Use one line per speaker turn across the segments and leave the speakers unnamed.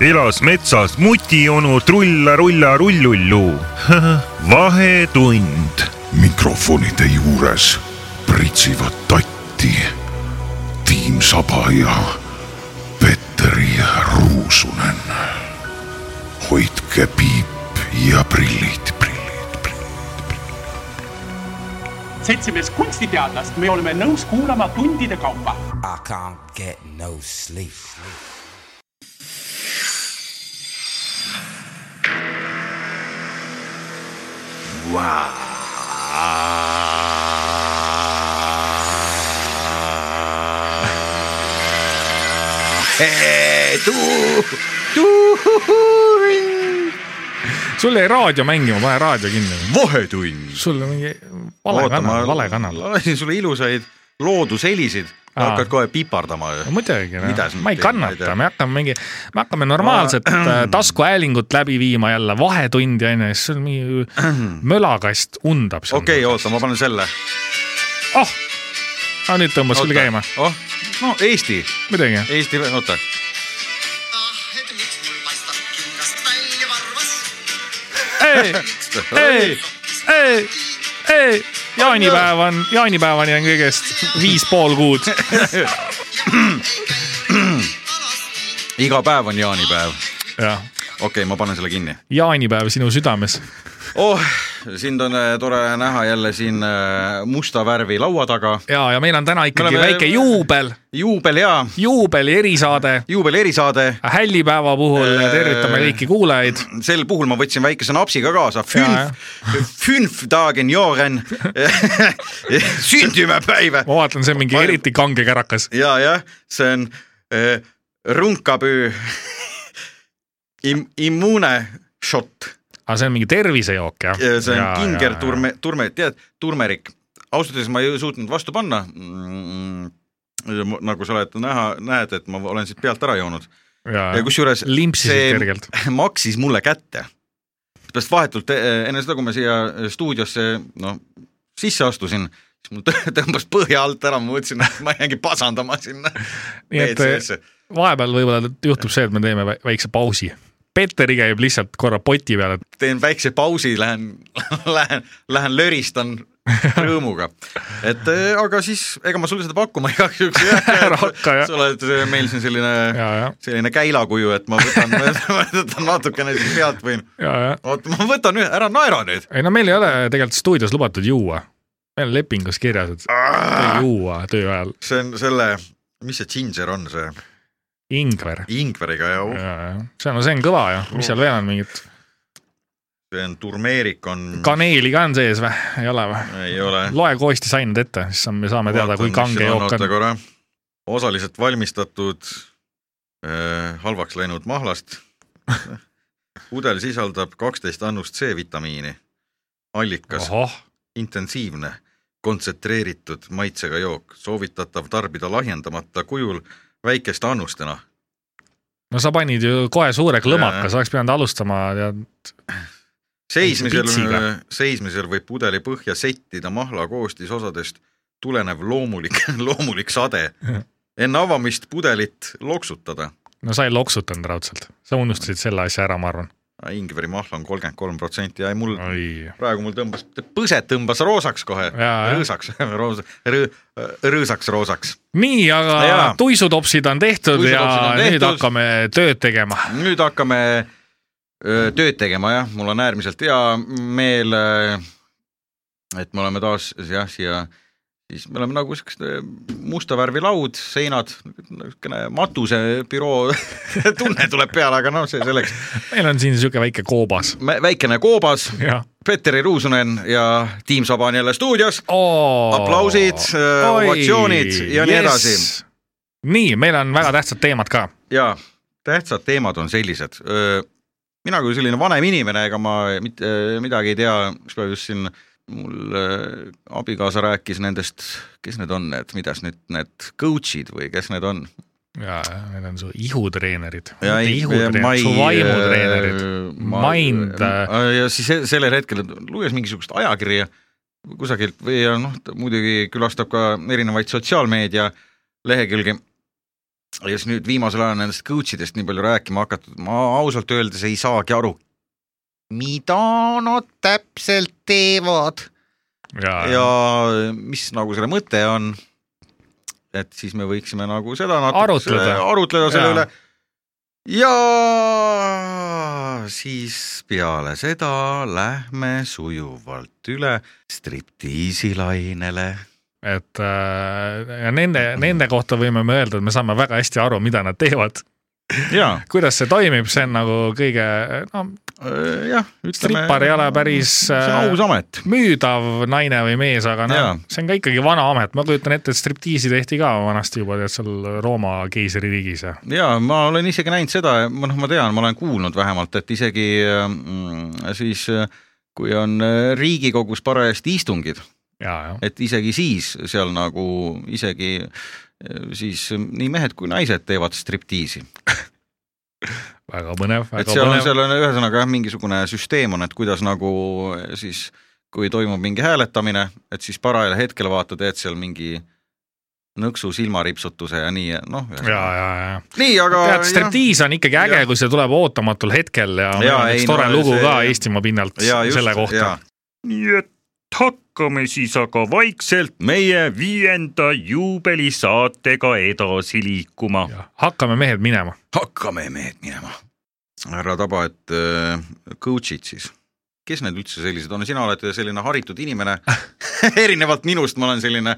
elas metsas mutionu trulla-rulla-rullullu . vahetund .
mikrofonide juures pritsivad tatti Tiim Saba ja Petteri Ruusunen . hoidke piip ja prillid , prillid , prillid .
seltsimees kunstiteadlast me oleme nõus kuulama tundide kaupa .
I can't get no sleep.
sul jäi raadio mängima , pane raadio kinni .
vahetund .
sul on mingi vale kanal , vale kanal .
lasin sulle ilusaid loodushelisid ,
Aa.
hakkad kohe pipardama .
muidugi noh.
Mida sa ,
ma ei
teed, ma ei
kannata ,
tea.
me hakkame mingi , me hakkame normaalset äh, taskuhäälingut läbi viima jälle , vahetundi on ju , siis sul mingi mölakast undab seal .
okei , oota , ma panen selle .
oh , aga Ah, nüüd tõmbas küll käima ,
oh , no Eesti ,
muidugi .
Eesti , oota .
ei , ei , ei , ei , jaanipäev on , jaanipäevani on kõigest viis pool kuud .
iga päev on jaanipäev .
jah ,
okei okay, , ma panen selle kinni .
jaanipäev sinu südames .
oh , sind on äh, tore näha jälle siin äh, musta värvi laua taga .
ja , ja meil on täna ikkagi
Me oleme-
väike juubel ,
juubel ja
juubeli erisaade
juubeli erisaade ,
hällipäeva puhul
Äh,
tervitame kõiki kuulajaid .
sel puhul ma võtsin väikese napsiga kaasa ,
Jaa,
fünf , fünf dagen joren , sündimäpäive .
ma vaatan , see on mingi eriti kange kärakas .
ja jah , see on äh, runkapüü Im, immune šott ,
aga see on mingi tervisejook jah ?
Äh, see on kinger , turme , turme , tead , turmerik . ausalt öeldes ma ei suutnud vastu panna mm, . nagu sa oled näha , näed , et ma olen siit pealt ära joonud ja kusjuures
limpsisid kergelt .
maksis mulle kätte . sest vahetult eh, enne seda , kui ma siia stuudiosse noh sisse astusin , siis mul tõ- tõmbas põhja alt ära , ma mõtlesin , et ma jäängi pasandama sinna
Nii et, eh,
WC-sse .
vahepeal võib-olla juhtub see , et me teeme vä- väikse pausi . Peeteri käib lihtsalt korra poti peal , et
teen väikse pausi , lähen , lähen , lähen löristan rõõmuga . et eh, aga siis , ega ma sulle seda pakkuma igaks juhuks ei hakka .
Ära hakka, jah.
sa oled eh, meil siin selline ,
ja , ja ,
selline käilakuju , et ma võtan , võtan natukene siis pealt võin .
ja , ja .
oota , ma võtan ühe , ära naera nüüd .
ei no meil ei ole tegelikult stuudios lubatud juua . meil on lepingus kirjas , et
Ah!
ei juua töö ajal .
see on selle , mis see ginger on , see
ingver .
ingveriga ja
ja ,
oh,
ja , see on , see on kõva ju , mis seal veel on , mingit
see on turmeerik on ,
kaneeli ka on sees või , ei ole või ?
ei ole .
loe koostisained ette , siis on- me saame teada , kui kange jook on .
on . osaliselt valmistatud äh, halvaks läinud mahlast . pudel sisaldab kaksteist annust C-vitamiini . allikas Oho.
ohoh ,
intensiivne , kontsentreeritud maitsega jook , soovitatav tarbida lahjendamata kujul väikeste annustena .
no sa panid ju kohe suure klõmaka , sa oleks pidanud alustama tead
seismisel eh,
Pitsiga. ,
seismisel võib pudeli põhja settida mahla koostisosadest tulenev loomulik , loomulik sade . enne avamist pudelit loksutada
no sa ei loksutanud raudselt , sa unustasid selle asja ära , ma arvan .
Ingveri mahla on kolmkümmend kolm protsenti ja ei, mul
oi ,
praegu mul tõmbas , põsed tõmbas roosaks kohe ,
Jaa, jah.
rõõsaks , rõ- , rõõsaks roosaks .
nii , aga
Jaa.
tuisutopsid on tehtud
Tuisutopsid
ja
on
tehtud.
tehtud.
nüüd hakkame tööd tegema .
nüüd hakkame öö, tööd tegema jah , mul on äärmiselt hea meel , et me oleme taas jah , siia siis me oleme nagu siukeste musta värvi laud , seinad , niisugune matusebüroo tunne tuleb peale , aga noh , see selleks .
meil on siin sihuke väike koobas .
väikene koobas ,
jah .
Petteri Ruusunen ja Tiim Saba on jälle stuudios . Aplausid, äh, ovatsioonid ja nii edasi. .
nii , meil on väga tähtsad teemad ka .
ja tähtsad teemad on sellised . mina kui selline vanem inimene , ega ma mitte midagi ei tea , ükspäev just siin mul öö, abikaasa rääkis nendest , kes need on , et midas nüüd need coach'id või kes need on ?
ja , need on su ihutreenerid .
ja
mitte
ei , äh,
ihutreenerid , su vaimutreenerid . Mind, äh,
ja siis se- sellel hetkel luges mingisugust ajakirja kusagilt või ja noh , ta muidugi külastab ka erinevaid sotsiaalmeedia lehekülgi ja siis nüüd viimasel ajal on nendest coach idest nii palju rääkima hakatud , ma ausalt öeldes ei saagi aru , mida nad täpselt teevad
ja
ja mis nagu selle mõte on , et siis me võiksime nagu seda
Arutleda.
arutleda selle
Jaa.
üle . ja siis peale seda lähme sujuvalt üle striptiisilainele .
et äh, ja nende , nende kohta võime me öelda , et me saame väga hästi aru , mida nad teevad ,
ja ,
kuidas see toimib , see on nagu kõige no,
Äh, jah , ütleme .
Strippar ei ole päris,
see
äh,
on aus amet .
müüdav naine või mees , aga noh
Jaa. ,
see on ka ikkagi vana amet , ma kujutan ette , et striptiisi tehti ka vanasti juba tead seal Rooma keisririigis ja
ja ma olen isegi näinud seda , ma noh , ma tean , ma olen kuulnud vähemalt , et isegi mm, siis äh, kui on äh, Riigikogus parajasti istungid ,
ja , ja
et isegi siis seal nagu isegi eh, siis nii mehed kui naised teevad striptiisi ,
väga põnev ,
et
väga
seal on ,
põnev .
seal on ühesõnaga jah , mingisugune süsteem on , et kuidas nagu siis kui toimub mingi hääletamine , et siis parajal hetkel vaata , teed seal mingi nõksu silmaripsutuse ja nii , noh .
ja , ja , ja
nii , aga
tead , striptiis on ikkagi äge , kui see tuleb ootamatul hetkel ja, ja
Jaa,
on
ei,
üks tore
no
no, lugu
see-
see, ka Eestimaa pinnalt
ja, ja,
selle kohta .
nii et hakkame siis aga vaikselt meie viienda juubelisaatega edasi liikuma .
hakkame mehed minema .
hakkame mehed minema . härra Taba , et äh, coach'id siis , kes need üldse sellised on , sina oled selline haritud inimene , erinevalt minust ma olen selline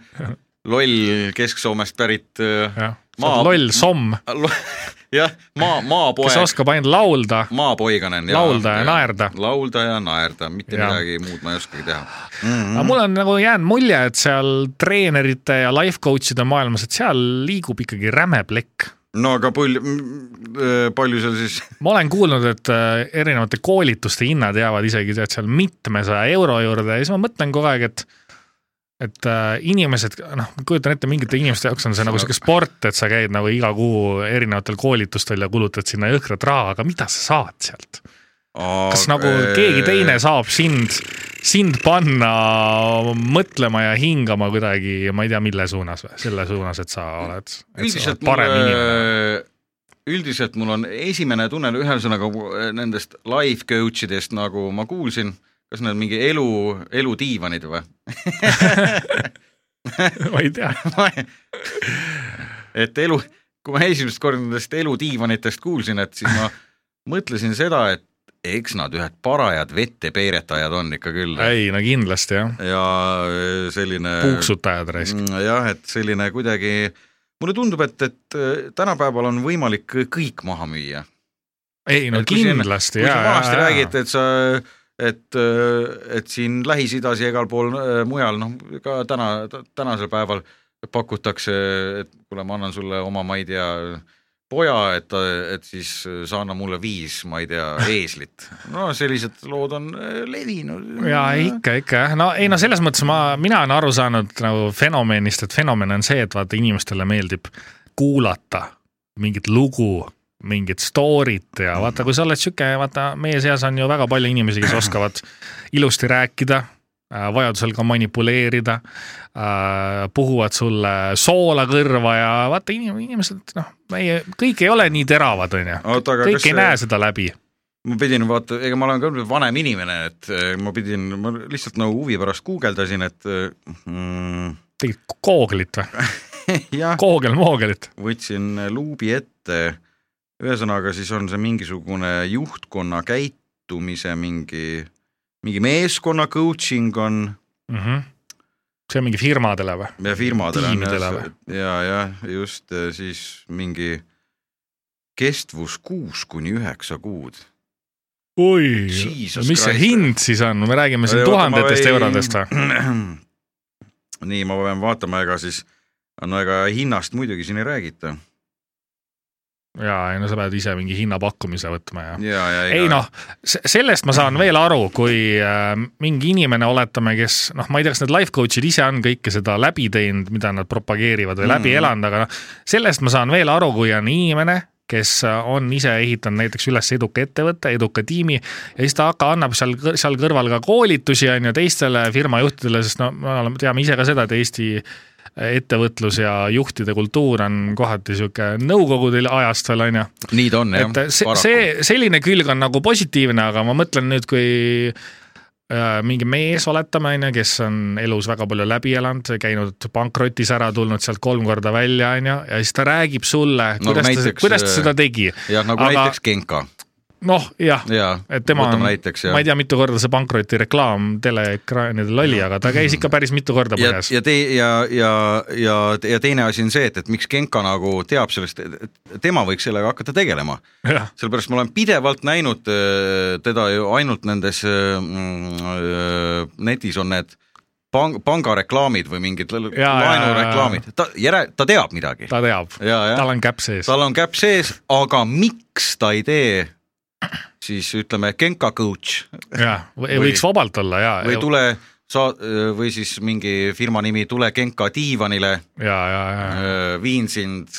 loll Kesk-Soomest pärit äh, Ma-
loll somm ,
lo- jah , maa , maapoeg
kes , oskab ainult laulda ,
maapoiganen .
Laulda ja naerda.
laulda ja naerda , mitte
Jah.
ja. midagi muud ma ei oskagi teha . Mm-hmm.
aga mul on nagu jäänud mulje , et seal treenerite ja life coach'ide maailmas , et seal liigub ikkagi räme plekk .
no aga palju , äh, palju seal siis
ma olen kuulnud , et äh, erinevate koolituste hinnad jäävad isegi tead seal mitmesaja euro juurde ja siis ma mõtlen kogu aeg , et et äh, inimesed , noh , ma kujutan ette , mingite inimeste jaoks on see nagu sihuke sport , et sa käid nagu iga kuu erinevatel koolitustel ja kulutad sinna jõhkrat raha , aga mida sa saad sealt ? kas
Aga-
nagu keegi teine saab sind , sind panna mõtlema ja hingama kuidagi , ma ei tea , mille suunas , selle suunas , et sa oled , et sa
üldiselt
oled parem inimene .
mulle , üldiselt mul on esimene tunne , ühesõnaga äh, nendest live coach idest , nagu ma kuulsin , kas need mingi elu , eludiivanid või ?
ma ei tea ,
et elu , kui ma esimest korda nendest eludiivanitest kuulsin , et siis ma mõtlesin seda , et eks nad ühed parajad vette peeretajad on ikka küll
ei no kindlasti jah ,
ja äh, selline
puuksutajad raisk .
Mm, jah , et selline kuidagi , mulle tundub , et , et äh, tänapäeval on võimalik kõik maha müüa .
ei no
Et kui siin-
kindlasti
kui sa
ja ,
vanasti
ja , ja
räägid ,, et sa , et , et siin Lähis-Idas ja igal pool äh, mujal , noh ka täna , tänasel päeval pakutakse , et kuule , ma annan sulle oma , ma ei tea , poja , et , et siis sa anna mulle viis , ma ei tea , eeslit . no sellised lood on äh, levinud .
ja ikka , ikka jah , no ei no selles mõttes ma , mina olen aru saanud nagu fenomenist , et fenomen on see , et vaata inimestele meeldib kuulata mingit lugu , mingit story't ja vaata , kui sa oled sihuke , vaata meie seas on ju väga palju inimesi , kes oskavad ilusti rääkida , vajadusel ka manipuleerida , puhuvad sulle soola kõrva ja vaata inim- inimesed , noh , meie kõik ei ole nii teravad , onju .
oota , aga
kõik
kas
ei näe seda läbi .
ma pidin vaata , ega ma olen ka vanem inimene , et eh, ma pidin , ma lihtsalt nagu huvi pärast guugeldasin , et eh, mm,
tegid kooglit või ?
jah ,
koogel-moogelit ?
võtsin luubi ette . ühesõnaga , siis on see mingisugune juhtkonna käitumise mingi , mingi meeskonna coaching on
mm . -hmm. see on mingi firmadele või ?
ja firmadele on
Tiimidele
jah , ja , jah , just eh, siis mingi kestvus kuus kuni üheksa kuud .
oi
Jesus ,
mis see
Christ.
hind siis on , me räägime siin
Ei, oota, ma
tuhandetest
ei-
eurodest või ?
nii , ma pean vaatama , ega siis , no ega hinnast muidugi siin ei räägita .
Noh. jaa , ei no sa pead ise mingi hinnapakkumise võtma ja .
ja , ja
ei noh , sellest ma saan veel aru , kui äh, mingi inimene , oletame , kes noh , ma ei tea , kas need life coach'id ise on kõike seda läbi teinud , mida nad propageerivad või läbi
Mhm.
elanud , aga noh , sellest ma saan veel aru , kui on inimene , kes on ise ehitanud näiteks üles eduka ettevõtte , eduka tiimi ja siis ta hakka , annab seal , seal kõrval ka koolitusi on ju teistele firmajuhtidele , sest no me oleme , teame ise ka seda , et Eesti äh, ettevõtlus ja juhtide kultuur on kohati sihuke nõukogude ajast veel onju
nii ta on jah
et , see , see , selline külg on nagu positiivne , aga ma mõtlen nüüd , kui äh, mingi mees , oletame onju , kes on elus väga palju läbi elanud , käinud pankrotis ära , tulnud sealt kolm korda välja onju ja siis ta räägib sulle ,
Nagu
kuidas ta
näiteks, ,
kuidas ta seda tegi .
jah , nagu aga...
aga-
näiteks Genka
noh , jah
ja
et tema on ,
võtame
ma
näiteks ja
ei tea , mitu korda see pankrotireklaam teleekraanidel oli , aga ta käis ikka päris mitu korda
ja ,
põhjas .
ja tei- ja , ja , ja , ja teine asi on see , et , et miks Genka nagu teab sellest , tema võiks sellega hakata tegelema ,
jah ,
sellepärast ma olen pidevalt näinud öö, teda ju ainult nendes , netis on need pang- , pangareklaamid või mingid l-
ja, ja,
laenureklaamid , ta järe- , ta teab midagi .
ta teab ,
ja ,
tal
ja
on käpp sees .
tal on käpp sees , aga miks ta ei tee siis ütleme Genka coach
jah ,
või-
võiks vabalt olla ja ,
või
ja ,
tule sa- äh, või siis mingi firma nimi Tule Genka diivanile
ja , ja ,
Öö, viin sind ,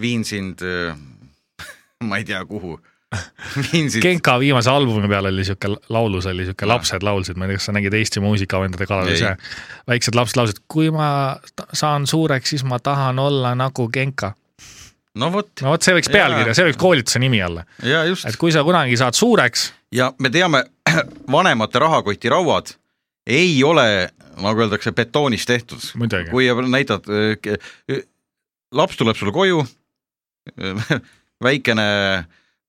viin sind , ma ei tea , kuhu , viin sind Ken... ,
Genka viimase albumi peal oli siuke laulus oli siuke lapsed laulsid , ma ei tea , kas sa nägid Eesti muusikavendade kanal
Ei.
ise , väiksed lapsed laulsid , kui ma ta- saan suureks , siis ma tahan olla nagu Genka .
no vot ,
no vot , see võiks
Jaa.
pealkirja , see võiks koolituse nimi olla ,
ja just
et , kui sa kunagi saad suureks ,
ja me teame , vanemate rahakoti rauad ei ole , nagu öeldakse , betoonist tehtud .
Muidugi.
kui näitad , laps tuleb sulle koju , väikene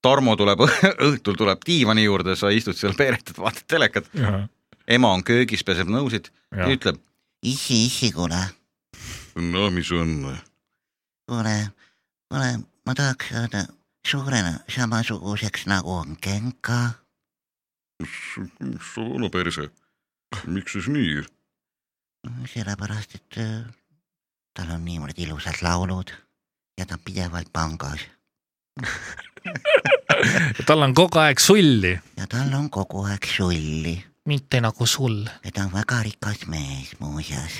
Tarmo tuleb õhtul tuleb diivani juurde , sa istud seal , peeretad , vaatad telekat , ema on köögis , peseb nõusid ja
Jah.
ütleb .
issi , issi , kuule ,
no mis on ?
kuule , kuule , ma tahaks saada suurena samasuguseks nagu on Genka .
mis on vana perse ? miks siis nii ?
sellepärast , et äh, tal on niivõrd ilusad laulud ja ta on pidevalt pangas
tal on kogu aeg sulli .
ja tal on kogu aeg sulli
mitte nagu sul .
ja ta on väga rikas mees muuseas .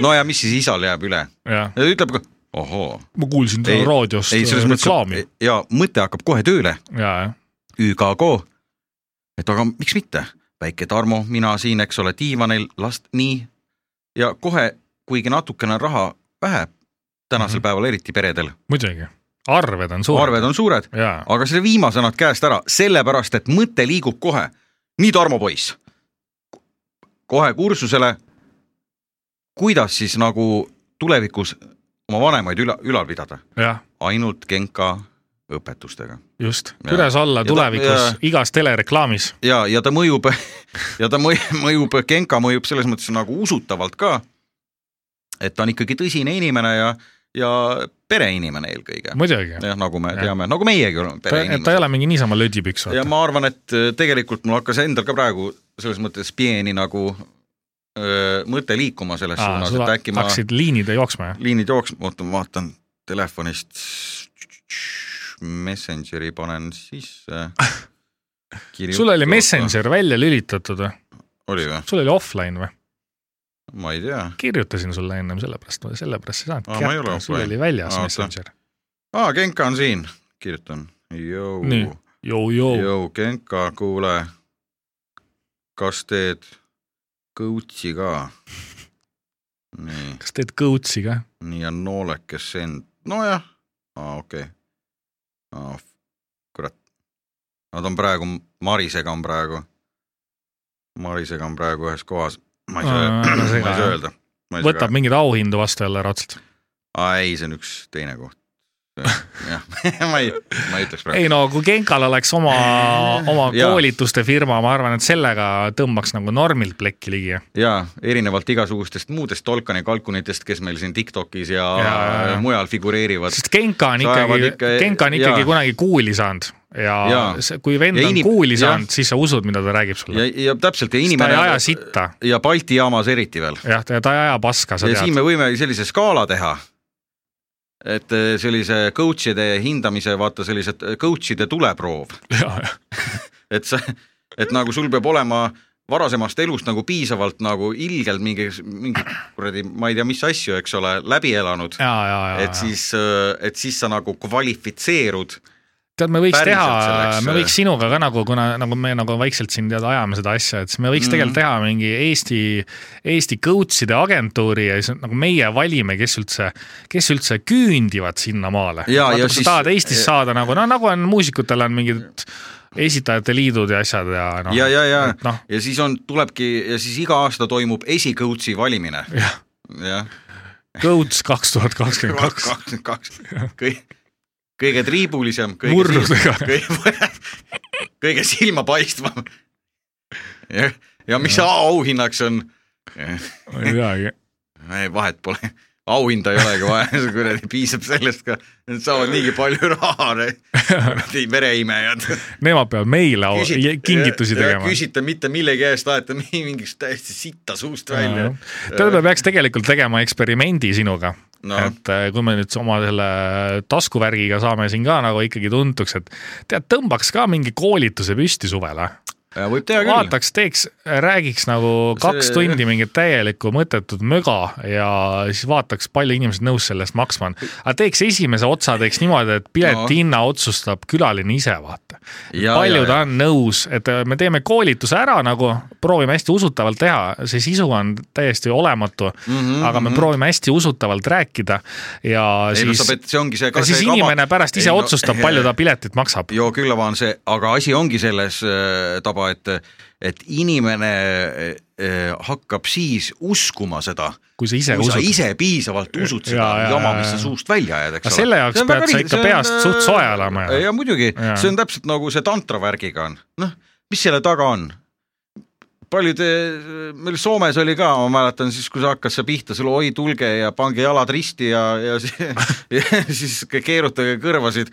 no ja mis siis isal jääb üle ?
jah ,
ütleb , ohoo .
ma kuulsin teda raadiost
ei , selles mõttes
äh, reklaami .,
ja mõte hakkab kohe tööle ,
ja , jah ,
ÜKK . et aga miks mitte , väike Tarmo , mina siin , eks ole , diivanil , last nii ja kohe , kuigi natukene on raha vähe tänasel mm -hmm. päeval , eriti peredel ,
muidugi , arved on suured .
arved on suured ,
jaa ,
aga selle viimase annad käest ära , sellepärast et mõte liigub kohe . nii , Tarmo poiss , kohe kursusele . kuidas siis nagu tulevikus oma vanemaid üla , ülal pidada ?
jah
ainult Genka õpetustega
just , kuidas olla
Ja ta- ja-
tulevikus igas telereklaamis ,
ja , ja ta mõjub ja ta mõju- mõjub , Genka mõjub selles mõttes nagu usutavalt ka . et ta on ikkagi tõsine inimene ja , ja pereinimene eelkõige .
muidugi .
jah , nagu me
Jah.
teame , nagu meiegi oleme
ta ta ei
pereinimesed .
ole mingi niisama lödipüks ,
ja
vaata .
ma arvan , et äh, tegelikult mul hakkas endal ka praegu selles mõttes pieni nagu öö, mõte liikuma selles
Aa,
suunas , et
sul
äkki ma
hakkasid liinid jooksma , jah ?
liinid jooksma , oota ma vaatan telefonist , Messengeri panen sisse .
sul oli Messenger välja lülitatud või ?
oli või ?
sul oli offline või ?
ma ei tea ,
kirjutasin sulle ennem sellepärast , sellepärast ei saanud
Aa, ma ei ole
kätte , sul
offline.
oli väljas
Aa,
Messenger .
aa Genka on siin , kirjutan . Jou
Nii. , Jou-jou ,
jou Genka , kuule , kas teed kõutsi ka ? nii ,
kas teed kõutsi ka ?
nii on noolekes send , nojah , aa okei okay. . aa , kurat , nad on praegu , Marisega on praegu , Marisega on praegu ühes kohas , ma ei saa ,
Aa, ära
ma ei
sega,
saa
jah.
öelda .
võtab mingeid auhindu vastu jälle raudselt .
aa ei , see on üks teine koht . jah , ma ei , ma ei ütleks praegu .
ei no kui Genkal oleks oma , oma
Jaa.
koolituste firma , ma arvan , et sellega tõmbaks nagu normilt plekki ligi .
jaa , erinevalt igasugustest muudest Tolkani kalkunitest , kes meil siin Tiktokis ja, ja,
Jaa.
ja mujal figureerivad .
sest Genka on
Sa ajavad
ikkagi
ikka- ,
Genka on ikkagi
jaa.
jaa. kunagi kuuli saanud ja, ja.
Jaa.
See, kui vend
Ja
on
inim-
kuuli
jah.
saanud , siis sa usud , mida ta räägib
ja
sulle .,
ja täpselt ja
ta
inimene nagu-
ei aja sitta ,
ja Balti jaamas eriti veel .
jah , ta ta ei aja paska , sa
ja siin
tead .
me võime sellise skaala teha , et eh, sellise coach'ide hindamise , vaata sellised coach'ide tuleproov , et sa , et nagu sul peab olema varasemast elust nagu piisavalt nagu ilgelt mingi , mingi kuradi , ma ei tea , mis asju , eks ole , läbi elanud ,
ja , ja , ja ,
et
ja ,
siis , et siis sa nagu kvalifitseerud
tead , me võiks
Päriselt
teha
selleks, ,
me
äh,
võiks sinuga ka nagu , kuna nagu me nagu vaikselt siin tead ajame seda asja , et siis me
Mhm.
võiks mm -hmm. tegelikult teha mingi Eesti , Eesti coach'ide agentuuri ja siis nagu meie valime , kes üldse , kes üldse küündivad sinnamaale .
Jaa, ja
kui
siis-
sa tahad Eestis
ja-
saada nagu noh , nagu on muusikutel on mingid esitajate liidud ja asjad ja noh .
ja , ja , ja
et , noh ,
ja siis on , tulebki ja siis iga aasta toimub esikoutsi valimine .
jah ,
jah ,
coach kaks tuhat kakskümmend kaks
kakskümmend kaks , kõik , kõige triibulisem , kõige ,
murrusega .
kõige, kõige silmapaistvam . jah , ja mis auhinnaks on ,
ei teagi ,
ei vahet pole , auhinda ei olegi vaja , kuradi piisab sellest ka , nad saavad niigi palju raha , kuradi vereimejad .
nemad peavad meile au- kingitusi tegema .
küsita mitte millegi eest , aeta mingist täiesti sitta suust välja .
tead , me peaks tegelikult tegema eksperimendi sinuga no. ,
No.
et eh, kui me nüüd oma selle taskuvärgiga saame siin ka nagu ikkagi tuntuks , et tead , tõmbaks ka mingi koolituse püsti suvele .
Äh, võib teha küll .
vaataks , teeks , räägiks nagu kaks
See-
tundi mingit täielikku mõttetut möga ja siis vaataks , palju inimesed nõus selle eest maksma on . aga teeks esimese otsa , teeks niimoodi , et
Noh.
piletihinna no. otsustab külaline ise , vaata .
Jaa,
palju
jaa,
ta
jaa.
on nõus , et me teeme koolituse ära nagu , proovime hästi usutavalt teha , see sisu on täiesti olematu mm ,
Mhm,
-hmm, aga me proovime hästi usutavalt rääkida ja
ei no
siis
sa , pead , see ongi see .
ja siis inimene pärast ise ei, otsustab , palju ta . piletit maksab .
eh, joo , küll aga on see , aga asi ongi selles äh, taba , et , et inimene äh, hakkab siis uskuma seda ,
kui sa ise
kui sa
usud .
ise piisavalt usud seda
Jaa, jaa,
jama ,
jaa,
mis sa
jaa.
suust välja ajad , eks
Aga selle jaoks
See on väga
pead sa
lihtne,
ikka
see on,
peast suht
äh,
soe elama ju.
ja muidugi
Jaa. ,
see on täpselt nagu see tantra värgiga on , noh , mis selle taga on ? paljud , meil Soomes oli ka , ma mäletan siis , kui see hakkas see pihta , seal oi tulge ja pange jalad risti ja , ja, si- ja siis ke- keerutage kõrvasid ,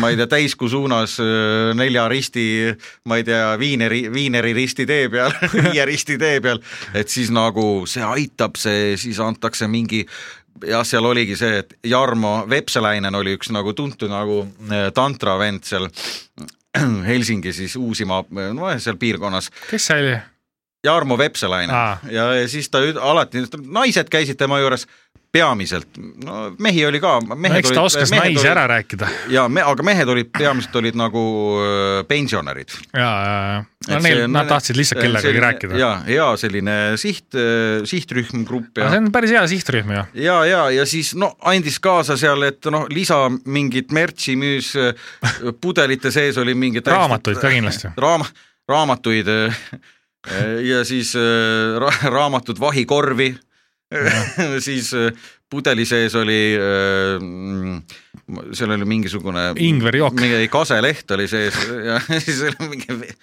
ma ei tea , täiskuu suunas öö, nelja risti , ma ei tea , viineri , viineri risti tee peal , viie risti tee peal , et siis nagu see aitab , see siis antakse mingi jah , seal oligi see , et Jarmo Vepseläinen oli üks nagu tuntud nagu öö, tantravend seal Helsingi siis Uusimaa , nojah , seal piirkonnas
kes see oli ?
Jarmo Vepselaine
Aa.
ja, ja siis ta üt- alati , naised käisid tema juures peamiselt , no mehi oli ka .
no eks ta oskas naisi olid... ära rääkida .
ja me , aga mehed olid peamiselt olid nagu öö, pensionärid .
ja , ja , ja . no neil , nad tahtsid lihtsalt kellegagi rääkida .
ja , ja selline siht , sihtrühm , grupp
aga
ja
see on päris hea sihtrühm ju .
ja , ja , ja siis no andis kaasa seal , et noh , lisa mingit märtsi müüs , pudelite sees oli mingi
Raamatuid ka kindlasti.
raam- , raamatuid öö, ja siis öö, ra- raamatud vahikorvi , siis öö, pudeli sees oli , seal oli mingisugune
Ingverijook.
mingi kaseleht oli sees ja siis oli mingi ve-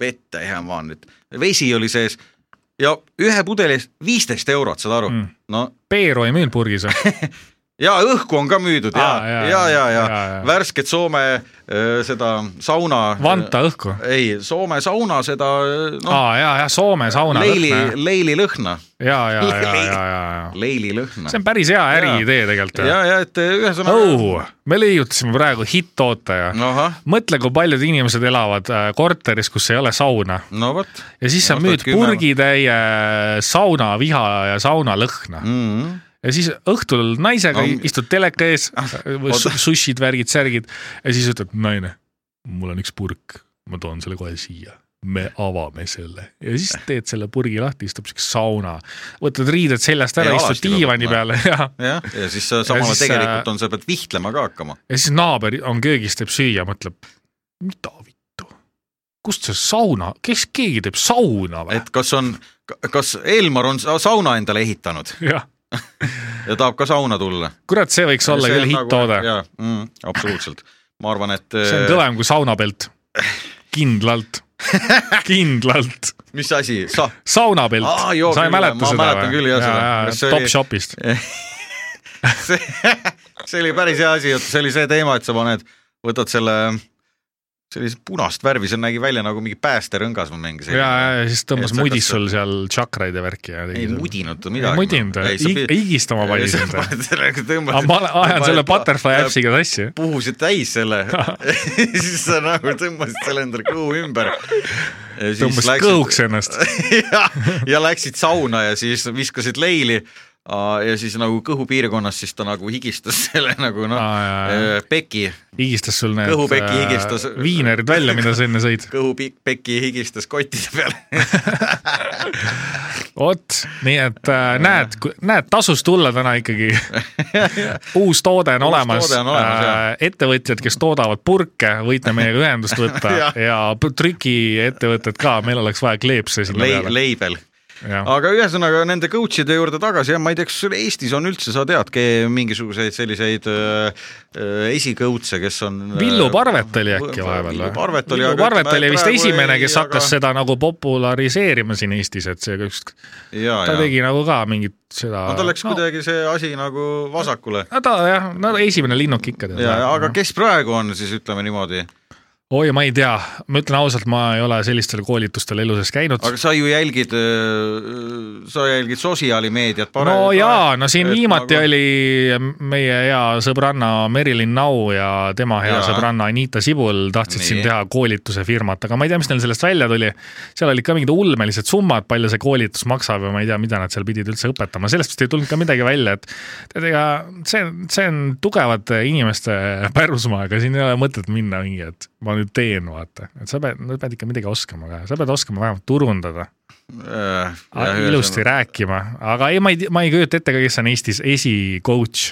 vett , hea maa nüüd , vesi oli sees ja ühe pudeli eest viisteist eurot , saad aru mm. , no
Peeru ei müünud purgis või ?
ja õhku on ka müüdud
Aa,
ja ,
jaa,
ja , ja , ja, ja.
jaa, jaa.
värsket Soome öö, seda sauna .
Vanta . õhku .
ei , Soome sauna seda noh ,
aa ja , ja Soome sauna
leili
lõhna ,.
leili lõhna ,
ja , ja , ja ,
Leili-
ja , ja , ja .
leili lõhna
see . on päris hea äriidee tegelikult
ja
ju .,
ja et äh, ühesõnaga .
oh , me leiutasime praegu hitt-toote ju .
ahah ,
mõtle , kui paljud inimesed elavad äh, korteris , kus ei ole sauna
no vot
ja siis sa
Ostad
müüd
kümme-
purgitäie saunaviha ja saunalõhna
mm . -hmm.
ja siis õhtul naisega
Am-
istud teleka ees ,
Ah, oota.
sushid , värgid , särgid ja siis ütled , naine , mul on üks purk , ma toon selle kohe siia me avame selle ja siis
Eh.
teed selle purgi lahti , istub siuke sauna , võtad riided seljast ära ,
Ja
istud
alasti peab
diivani
võtma.
peale ja ,
jah , ja siis sa samal
Ja
ajal
siis,
tegelikult
äh,
on , sa pead vihtlema ka hakkama .
ja siis naaber on köögis , teeb süüa , mõtleb , mida vittu , kust see sauna , kes , keegi teeb sauna või ?
et kas on , kas Elmar on sa- sauna endale ehitanud
jah ,
ja tahab ka sauna tulla ?
kurat , see võiks olla küll hitt-toode ,
nagu- jaa mm, , absoluutselt . ma arvan , et . eh, äh,
see on kõvem kui saunapelt , kindlalt , kindlalt
mis asi , sa
saunapelt
Aa, joo, ,
sa ei
küll,
mäleta
ma
seda
mäletan küll, jah, seda. Kas see oli-
Topshopist ,
see , see oli päris hea asi , et see oli see teema , et sa paned , võtad selle sellise punast värvi , see nägi välja nagu mingi päästerõngas või mingi
ja , ja
selline .
ja siis tõmbas
Et sa
mudis
kas-
sul seal tšakraid ja värki ja
ei
tegi .
mudinud ta
ei
midagi .
mudinud , higistama valisin ta . aga ma olen- ajan selle Butterfly äpsiga sassi .
puhusid täis selle , siis sa nagu tõmbasid selle endale kõhu ümber .
tõmbas kõhuks . ennast .
ja , ja läksid sauna ja siis viskasid leili , ja siis nagu kõhupiirkonnas siis ta nagu higistas selle nagu noh , peki ,
higistas sul need
Kõhupeki
äh,
higistas.
viinerid välja , mida sa enne sõid .
kõhupeki higistas kottide peale .
vot , nii et äh, näed , näed , tasus tulla täna ikkagi . uus toode on
Uus
olemas, Äh,
toode on olemas, jah.
ettevõtjad , kes toodavad purke , võite meiega ühendust võtta ja,
Jah.
ja p- trükiettevõtted ka , meil oleks vaja kleepse sinna
Lei- ,
peale .
leibel . aga ühesõnaga nende coach ide juurde tagasi jah , ma ei tea , kas sul Eestis on üldse , sa tead ke- mingisuguseid selliseid öö, öö, esikoutse , kes on .
Villu Parvet oli äkki vahepeal
Villu Parvet oli .
Villu Parvet oli vist esimene , kes hakkas . seda nagu populariseerima siin Eestis , et see üks ,
ja ,
ta
ja ,
tegi nagu ka mingit seda .
aga tal läks no. . kuidagi see asi nagu vasakule .
no ta jah , no esimene linnuk ikka .
ja , aga kes praegu on siis , ütleme niimoodi ,
oi , ma ei tea , ma ütlen ausalt , ma ei ole sellistel koolitustel elu sees käinud .
aga sa ju jälgid , sa jälgid sotsiaalimeediat .
no jaa , no siin viimati nagu... oli meie hea sõbranna Merilin Nau ja tema hea
Jaa.
ja. sõbranna Anita Sibul tahtsid
Nii.
Nii. siin teha koolituse firmat , aga ma ei tea , mis neil sellest välja tuli . seal olid ka mingid ulmelised summad , palju see koolitus maksab ja ma ei tea , mida nad seal pidid üldse õpetama , sellest vist ei tulnud ka midagi välja , et tead , ega see , see on tugevate inimeste pärusmaa , ega siin ei ole mõtet minna mingi , et ma nüüd teen , vaata . et sa pead , pead ikka midagi oskama ka , sa pead oskama vähemalt turundada
äh,
Aga Ah, ilusti . rääkima , aga ei , ma ei , ma ei kujuta ette ka , kes on Eestis esi-coach .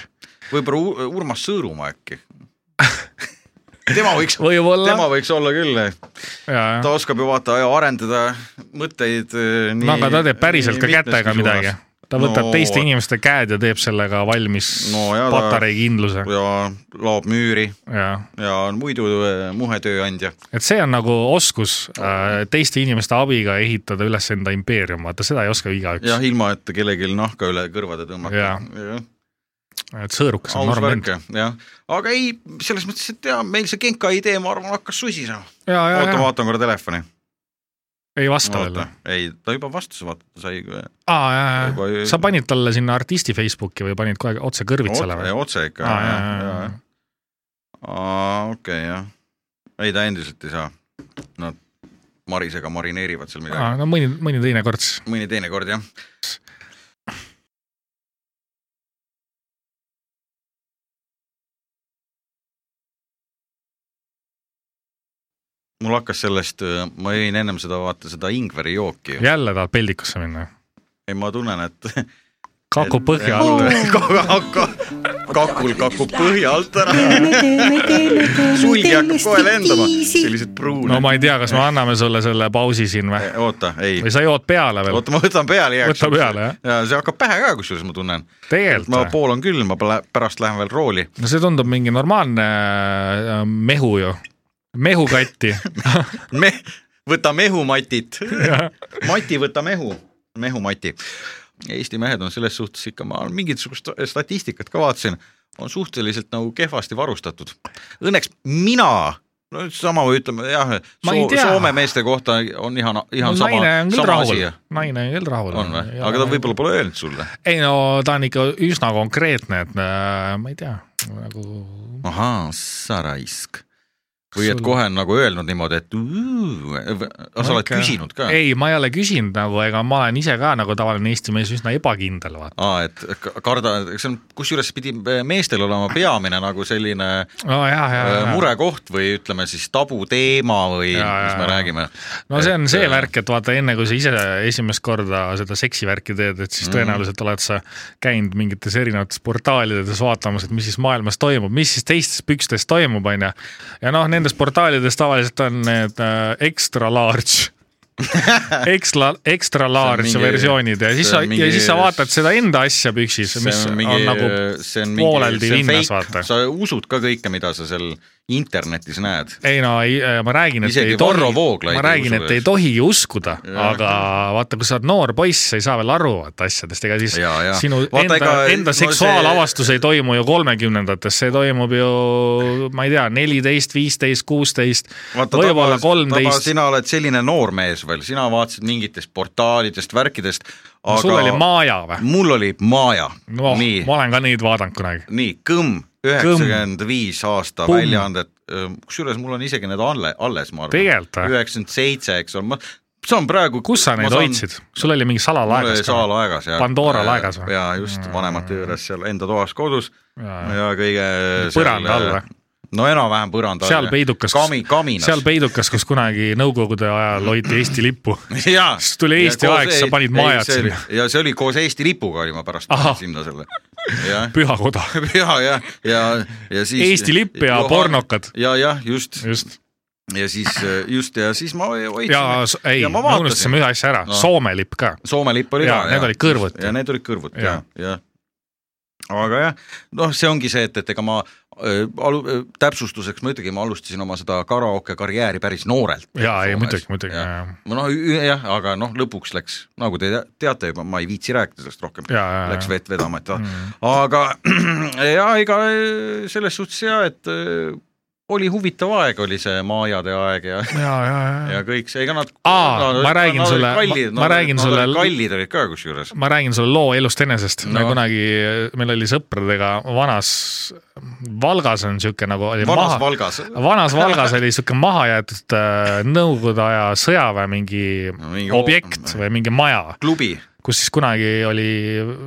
võib-olla U- Urmas Sõõrumaa äkki . tema võiks ,
Võib-olla.
tema võiks olla küll , ta
no
oskab ju vaata ja arendada mõtteid . eh, no
aga ta teeb päriselt ka kätega midagi . ta võtab no,
No.
teiste inimeste käed ja teeb sellega valmis
No ja
no,
ta-
patareikindluse
ja laob müüri
ja
ja on muidu äh, muhe tööandja .
et see on nagu oskus äh, teiste inimeste abiga ehitada üles enda impeerium , vaata seda ei oska
jah ,
igaüks .
ilma et kellelgi nahka üle kõrvade tõmmata
Jaa. .
jah ,
et sõõrukas on
aus
norm end .
värk jah , aga ei , selles mõttes , et jaa , meil see Genka idee , ma arvan , hakkas susisema .
ja , ja ,
oota ,
ja
vaatan korra telefoni .
ei vasta veel
oota , ei , ta juba vastas , vaata , ta sai eh, kohe
aa , ja , ja ,
Juba-
ja , sa panid talle sinna artisti Facebooki või panid kohe otse kõrvitsale
otse,
või ?
otse ikka
Aa,
ah, ,
jaa,
jah ,
jaa,
jaa ,
jaa.
jah . aa , okei okay, , jah . ei , ta endiselt ei saa . Nad Marisega marineerivad seal midagi ah. ,
aa , no mõni , mõni teine kord siis .
mõni teinekord , jah . mul hakkas sellest , ma jõin ennem seda , vaata seda ingveri jooki ju .
jälle tahad peldikusse minna ?
ei , ma tunnen , et
kaku põhja all .
kakul kakub põhja alt ära .
sulgi
sulgi hakkab kohe lendama , sellised pruuned Eh,
no . ma ei tea , kas me anname sulle selle pausi siin või ?
oota , ei ,
või sa jood peale veel ?
oota , ma võtan peale igaks
Võta peale, jah. .
ja see hakkab pähe ka , kusjuures ma tunnen . ma
tegelikult või ?
pool on küll , ma pole , pärast lähen veel rooli .
no see tundub mingi normaalne äh, mehu ju . mehu katti .
me , võta mehu Matit . Mati , võta mehu , mehu Mati . Eesti mehed on selles suhtes ikka , ma mingisugust statistikat ka vaatasin , on suhteliselt nagu kehvasti varustatud . Õnneks mina no sama või ütleme jah ,
Ma ei tea.
Soome meeste kohta on ihan , ihan
naine
sama ,
on küll
sama
rahul
asi ju. ,
naine on küll rahul .
on või , aga ta võib-olla . pole öelnud sulle .
ei no ta on ikka üsna konkreetne , et äh, ma ei tea , nagu
ahaa , sa raisk . või et
Sul-
kohe on nagu öelnud niimoodi , et uu, aga sa oled
Okei.
küsinud ka ?
ei , ma ei ole küsinud nagu , ega ma olen ise ka nagu tavaline eesti mees üsna ebakindel , vaata .
aa , et ka- karda , see on , kusjuures pidi eh, meestel olema peamine nagu selline
no ja , ja ,
äh,
ja .
murekoht või ütleme siis tabuteema või
Jaa,
mis
jaa,
me
jaa.
räägime .
no see on see
äh,
värk , et vaata enne , kui sa ise esimest korda seda seksivärki teed , et siis tõenäoliselt oled sa käinud mingites erinevates portaalides vaatamas , et mis siis maailmas toimub , mis siis teistes pükstes toimub , onju . ja noh , nendes portaalides tavaliselt on need äh, extra large . Extra , extra large
mingi-
mingi, versioonid ja siis
see
sa
on , mingi-
ja siis sa vaatad seda enda asja püksis , mis on, mingi, on nagu
eh, see on
pooleldi
see on
linnas ,
fake.
vaata .
sa usud ka kõike , mida sa seal internetis näed .
ei no ei , ma räägin , et
Isegi
ei
Varro
tohi ,
Vooglaid
ma
ei
räägin ,
usu
et ei
veel.
tohigi uskuda ,
Jah.
aga vaata , kui sa oled noor poiss , sa ei saa veel aru vaata asjadest , ega siis
Jaa, jaa.
sinu
Vaata,
vaata, enda
ega- , no
enda
see-
seksuaalavastus see... ei toimu ju kolmekümnendates , see toimub ju ma ei tea , neliteist , viisteist , kuusteist , võib-olla kolmteist .
sina oled selline noor mees veel , sina vaatasid mingitest portaalidest , värkidest , aga
sul oli Maja või ?
mul oli Maja
noh ,
nii ,
ma olen ka neid vaadanud kunagi .
nii Kõmm , üheksakümmend viis aasta
Pumm.
väljaanded , kusjuures mul on isegi need alle , alles , ma arvan ,
Tegelikult või?
üheksakümmend seitse , eks ole , ma saan praegu
kus sa neid
ma saan-
hoidsid ? sul oli mingi
mul oli
salalaegas ka ?
saalaegas ja
Pandora laegas või?
või ? jaa , just , vanemate juures seal enda toas kodus
jaa.
ja kõige
põranda all või ??
no enam-vähem põranda all .
seal peidukas ,
kami , kaminas .
seal peidukas , kus kunagi Nõukogude ajal hoiti Eesti lippu .
jaa .
Siis tuli Eesti aeg, sa panid majad sinna. .
ja see oli koos Eesti lipuga oli ma pärast
Ahah.
panin sinna selle . jah ,
pühakoda ,
ja , ja , ja , ja siis .
Eesti lipp ja pornokad ,
ja , jah , just
just .
ja siis äh, just ja siis ma hoidsin .
ja s- ei ,
ja ma
me
vaatasin
unustasime . ühe asja ära ,
No.
Soome lipp ka .
Soome lipp oli
Jaa,
ka .
need olid kõrvuti.
ja need olid kõrvuti ja
Jaa. ,
ja . aga jah , noh , see ongi see , et , et ega ma äh, alu- äh, täpsustuseks ma ütlengi , ma alustasin oma seda karaoke karjääri päris noorelt .
jaa , ei muidugi , muidugi ,
jaa ,
jaa ,
noh , jah , aga noh , lõpuks läks , nagu te teate juba , ma ei viitsi rääkida sellest rohkem .
jaa . Mm.
Läks vett vedama , et aga ja ega äh, selles suhtes ja , et äh, oli huvitav aeg , oli see maajade aeg ja
jaa , jaa , jaa
ja . kõik see , ega nad .
Aa, ma räägin sulle- ma- ma räägin sulle-
kallid olid ka kusjuures .
ma räägin sulle loo elust enesest no. , me
No.
kunagi , meil oli sõpradega vanas , Valgas on sihuke nagu oli maha ,
vanas Valgas .
vanas Valgas oli sihuke mahajäetud äh, Nõukogude aja sõjaväe mingi,
No
mingi
mingi
objekt
o-
või mingi maja ,
klubi .
kus siis kunagi oli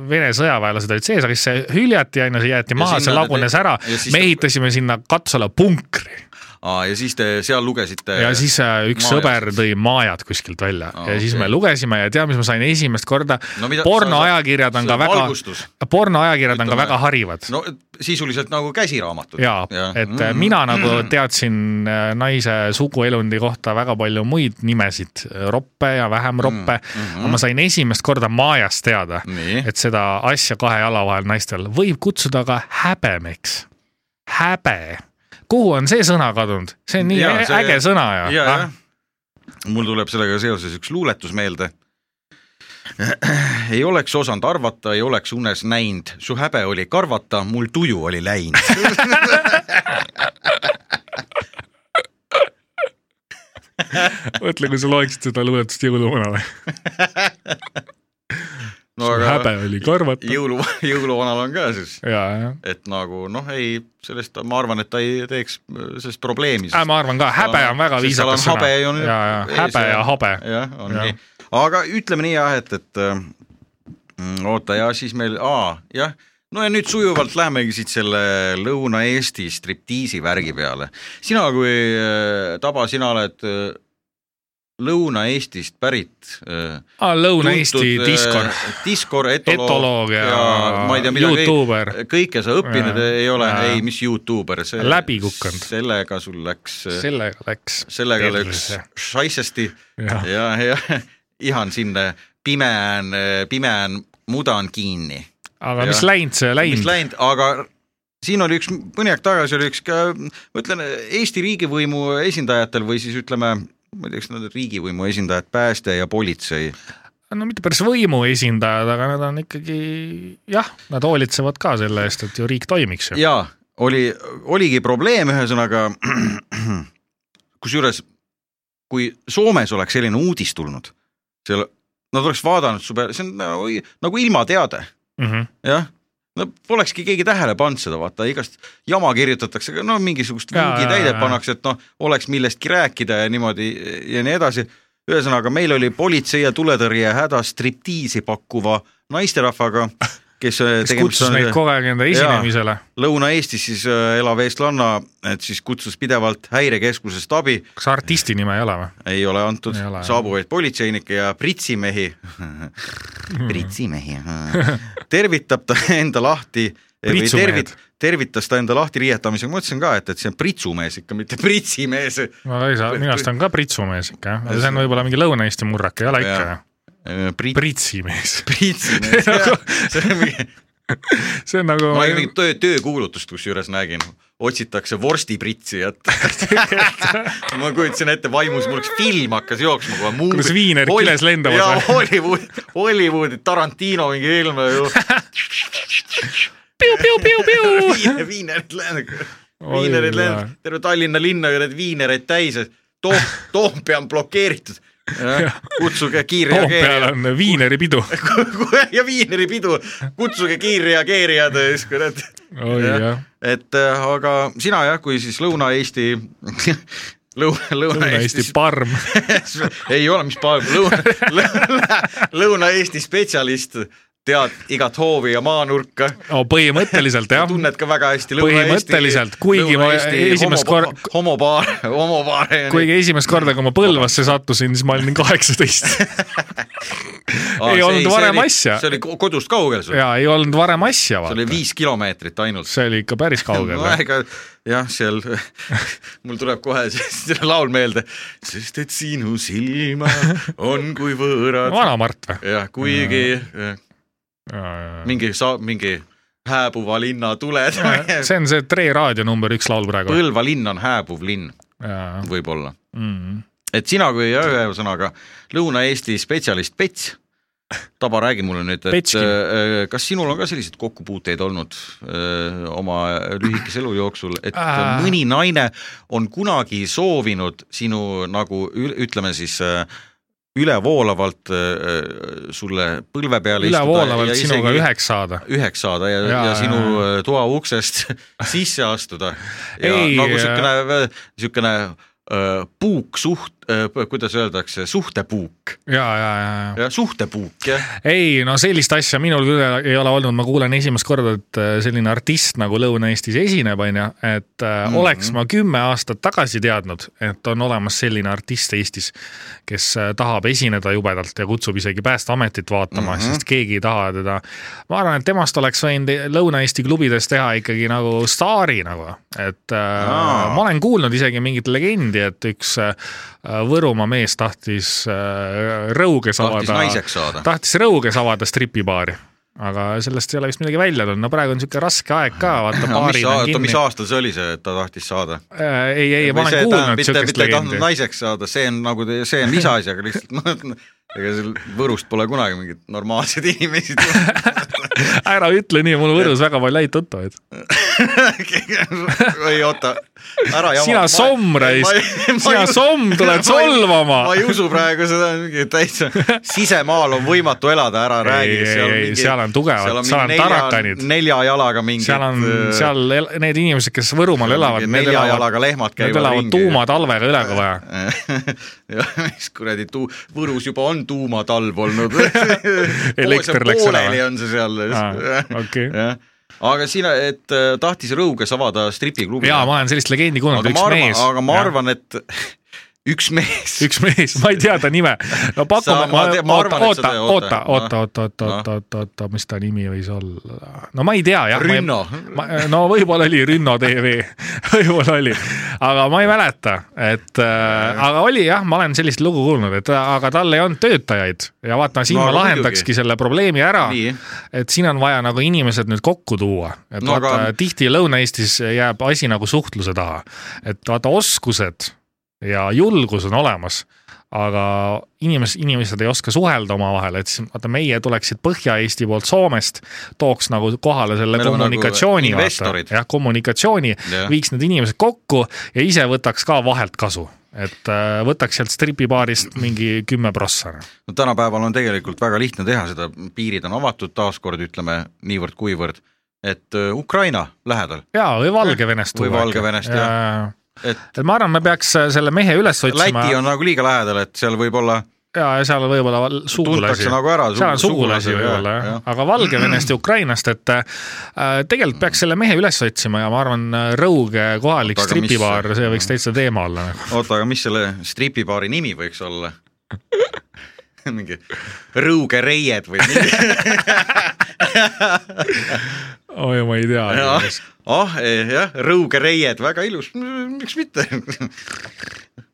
Vene sõjaväelased olid sees , aga siis see hüljati on ju , see jäeti maha ,
sinna
see
te-
lagunes ära
ja , siis
me
ta-
ehitasime sinna Katsala punkri
aa , ja siis te seal lugesite .
ja siis äh, üks
maajad.
sõber tõi maajad kuskilt välja
Aa,
ja siis me
okei.
lugesime ja tead , mis ma sain esimest korda
No mida-
pornoajakirjad on
see
ka
on
väga
valgustus. ,
pornoajakirjad on ka
Ütleme-
väga harivad
no sisuliselt nagu käsiraamatud .
jaa , et mm -hmm. mina nagu teadsin äh, naise suguelundi kohta väga palju muid nimesid , roppe ja vähem roppe mm , -hmm. aga ma sain esimest korda Majas teada ,
Nii.
et seda asja kahe jala vahel naistel võib kutsuda ka häbemeks . häbe , kuhu on see sõna kadunud , see on nii ja,
Jaa,
see...
see-
äge sõna ju Ah,
ja , jah . mul tuleb sellega seoses üks luuletus meelde . ei oleks osanud arvata , ei oleks unes näinud , su häbe oli karvata , mul tuju oli läinud .
mõtle , kui sa loeksid seda luuletust jõuluvanale ,
no aga
häbe oli karvata ja ,
jõulu , jõuluvanal on ka siis ,
ja .
et nagu noh , ei sellest ma arvan , et ta ei teeks sellest probleemi .
Äh, ma arvan ka , häbe on väga viisakas sõna . ja , ja häbe ja habe .
jah , on
Jah.
ja. nii , aga ütleme nii jah , et , et äh, mm, oota ja siis meil , aa jah , no ja nüüd sujuvalt lähemegi siit selle Lõuna-Eesti striptiisi värgi peale . sina kui äh, Taba , sina oled äh, Lõuna-Eestist pärit äh, .
Ah, Lõuna-Eesti diskor .
diskor , äh, etoloog,
Etoloog ja
ma ei tea , mida
Youtuber.
kõik , kõike sa õppinud
Jaa.
ei ole
Jaa. ,
ei mis Youtuber , see
Läbi kukkunud.
sellega sul läks äh,
sellega läks .
sellega läks . šaisesti
Jah.
ja , ja, ja ihan sinna pimeään , pimeään mudan kiinni .
aga mis
jah.
läinud , see
mis
läinud .
läinud , aga siin oli üks , mõni aeg tagasi oli üks ka , ma ütlen , Eesti riigivõimu esindajatel või siis ütleme , ma ei tea , kas nad on riigivõimu esindajad , pääste ja politsei .
no mitte päris võimu esindajad , aga nad on ikkagi jah , nad hoolitsevad ka selle eest , et ju riik toimiks ju .
jaa , oli , oligi probleem , ühesõnaga kusjuures kui Soomes oleks selline uudis tulnud , seal nad oleks vaadanud su peale , see on nagu, nagu ilmateade ,
Mhm.
jah , no polekski keegi tähele pannud seda , vaata igast jama kirjutatakse , no mingisugust
Jaa, jaa,
vingitäidet
jaa.
pannakse , et noh , oleks millestki rääkida ja niimoodi ja nii edasi . ühesõnaga , meil oli politsei ja tuletõrje hädas striptiisi pakkuva naisterahvaga , kes äh,
kes kutsus meid kogu aeg enda esinemisele .
Lõuna-Eestis siis äh, elav eestlanna , et siis kutsus pidevalt häirekeskusest abi ,
kas artisti nime ei ole või ?
ei ole antud
Ei ole, jah. Hmm.
saabuvaid politseinikke ja pritsimehi , pritsimehi , tervitab ta enda lahti või
Pritsumehed.
tervit- , tervitas ta enda lahti riietamisega , ma mõtlesin ka , et , et see on pritsumees ikka , mitte pritsimees .
no ei saa , minu arust on ka pritsumees ikka jah , aga see on võib-olla mingi Lõuna-Eesti murrak , ei ole ikka ju .
pritsimees ,
pritsimees .
äh, jah. see on mingi ,
see on nagu
ma mingit töö , töökuulutust kusjuures nägin , otsitakse vorstipritsijat . ma kujutasin ette , vaimus mul üks film hakkas jooksma kohe .
Kuidas viinerid kiles lendavad
jaa
või? ,
Hollywood , Hollywoodi Tarantino mingi film ju .
piu-piu-piu-piu .
viinerid lendavad ,
Oi,
viinerid
jaa.
lendavad , terve Tallinna linna ja need viinereid täis , et Toom- , Toompea on blokeeritud . kutsuge
Toompeal
kiirreageerijad .
on viineripidu .
ja viineripidu , kutsuge kiirreageerijad ja siis kurat .
oi jah .
et äh, aga sina jah , kui siis Lõuna-Eesti Lõuna ,
Lõuna-Eesti
Lõuna-Eestis
parm .
ei ole , mis paev , Lõuna , Lõuna , Lõuna-Eesti spetsialist , tead igat hoovi ja maanurka ,
no põhimõtteliselt jah .
tunned ka väga hästi
Põhimõtteliselt, kuigi ma esimest
homopa-
kor-
homopaar , homopaare .
kuigi esimest korda , kui ma Põlvasse sattusin , siis ma olin kaheksateist ei olnud varem asja.
Ah, see oli ko- kodust kaugel sul ,
ja ei olnud varem asja
see oli
vaata .
viis kilomeetrit ainult .
see oli ikka päris kaugel
no
jah.
ega jah , seal mul tuleb kohe see- see laul meelde , sest et sinu silmad on kui võõrad .
vana Mart või ?
jah , kuigi jah, mingi sa- , mingi hääbuva linna tuled .
see on see Tre raadio number üks laul praegu .
Põlva linn on hääbuv linn , võib-olla .
mm.
et sina kui jah, ühesõnaga Lõuna-Eesti spetsialist Pets , Taba , räägi mulle nüüd , et
Petskin.
äh, kas sinul on ka selliseid kokkupuuteid olnud öö, oma lühikese elu jooksul , et
Äh.
mõni naine on kunagi soovinud sinu nagu ül- ütleme siis äh, ülevoolavalt äh, sulle põlve peale
ülevoolavalt sinuga
isegi-
üheks saada .
üheks saada ja, ja,
Jaa,
ja
jaa,
sinu
jaa.
äh, toa uksest sisse astuda . ja
Ei,
nagu
äh,
niisugune , niisugune äh, puuksuht , kuidas öeldakse , suhtepuuk ,
ja , ja , ja , ja .
jah , suhtepuuk , jah .
ei no sellist asja minul küll ei ole olnud , ma kuulen esimest korda , et äh, selline artist nagu Lõuna-Eestis esineb , onju , et mm
Mhm.
-hmm. oleks ma kümme aastat tagasi teadnud , et on olemas selline artist Eestis , kes äh, tahab esineda jubedalt ja kutsub isegi Päästeametit vaatama
Mhm.
mm , -hmm. sest keegi ei taha teda . ma arvan , et temast oleks võinud Lõuna-Eesti klubides teha ikkagi nagu staari nagu , et äh,
Aa.
ma olen kuulnud isegi mingit legendi , et üks äh, Võrumaa mees tahtis äh, Rõuges
tahtis
avada
naiseks saada .
tahtis Rõuges avada stripibaari , aga sellest ei ole vist midagi välja tulnud , no praegu on niisugune raske aeg ka , vaata
mis
baarid on
aasta , mis
kinni .
aastal see oli see , et ta tahtis saada ?
ei , ei , ma olen kuulnud
mitte ,
niisugust
mitte ei tahtnud
legendi .
naiseks saada , see on nagu , see on lisaasi , aga lihtsalt ma mõtlen , ega seal Võrust pole kunagi mingit normaalseid inimesi
ära ütle nii , mul Võrus väga palju häid tuttavaid .
tulnud . ei oota , ära jama .
sina somm , raisk , sina somm , tuled solvama .
ma ei usu praegu seda , täitsa sisemaal on võimatu elada , ära räägi .
ei, ei, seal on tugevad- seal on tarakanid.
nelja jalaga mingid .
seal on , seal el- need inimesed , kes Võrumaal elavad , neil
äh, nelja
elavad ,
jalaga lehmad
nad
käivad Äh,
elavad tuumatalvega üle ka vaja .
ja mis kuradi tuu- , Võrus juba on tuumatalv olnud .
Elekter läks ära
pooleli
või?
on see seal .
Aa, okei.
aga sina , et äh, tahtis Rõuges avada stripiklubi .
jaa , ma olen sellist legendi kuulnud , üks mees .
aga ma . arvan , et üks mees .
üks mees , ma ei tea ta nime . no
Sa-
pakume ,
ma
ma
tea- , ma
oota ,
arvan, et
oota ,
sa tead,
oota ,
oota.
oota ,
Noh.
oota , oota , oota , oota , oota , mis ta nimi võis olla ? no ma ei tea jah .
Rünno. .
no võib-olla oli Rünno tv , võib-olla oli , aga ma ei mäleta , et äh, aga oli jah , ma olen sellist lugu kuulnud , et äh, aga tal ei olnud töötajaid ja vaata , siin no,
No
ma
aga
lahendakski
muidugi.
muidugi. selle probleemi ära
Nii.
et siin on vaja nagu inimesed nüüd kokku tuua , et
No
no, vaata
aga-
aga... tihti Lõuna-Eestis jääb asi nagu suhtluse taha , et vaata oskused ja julgus on olemas , aga inimes- , inimesed ei oska suhelda omavahel , et siis vaata , meie tuleksid Põhja-Eesti poolt Soomest , tooks nagu kohale selle
Me oleme nagu
kommunikatsiooni nagu ,
investorid.
jah , kommunikatsiooni
Jah. ,
viiks need inimesed kokku ja ise võtaks ka vahelt kasu , et äh, võtaks sealt stripibaarist mingi kümme prossa . noh.
no tänapäeval on tegelikult väga lihtne teha seda , piirid on avatud taaskord , ütleme niivõrd-kuivõrd , et äh, Ukraina lähedal ,
jaa , või Valgevenest tuua
Või
äkki.
Valgevenest, jah.
Jaa.
et
et ma arvan , me peaks äh, selle mehe üles otsima
Läti on nagu liiga lähedal , et seal võib-olla
ja ja seal võib-olla val- sugulasi
tuntakse , nagu ära
seal on sugulasi
sugulasi,
võib-olla
jah,
jah
jah. ,
aga Valgevenest ja Ukrainast , et äh, tegelikult peaks selle mehe üles otsima ja ma arvan , Rõuge kohalik
Oota, aga mis-
stripibaar , see võiks täitsa teema olla nagu .
oota , aga mis selle stripibaari nimi võiks olla ? mingi Rõuge reied või mingi ,
oi , ma ei tea .
ah eh, jah , Rõuge reied , väga ilus , miks mitte .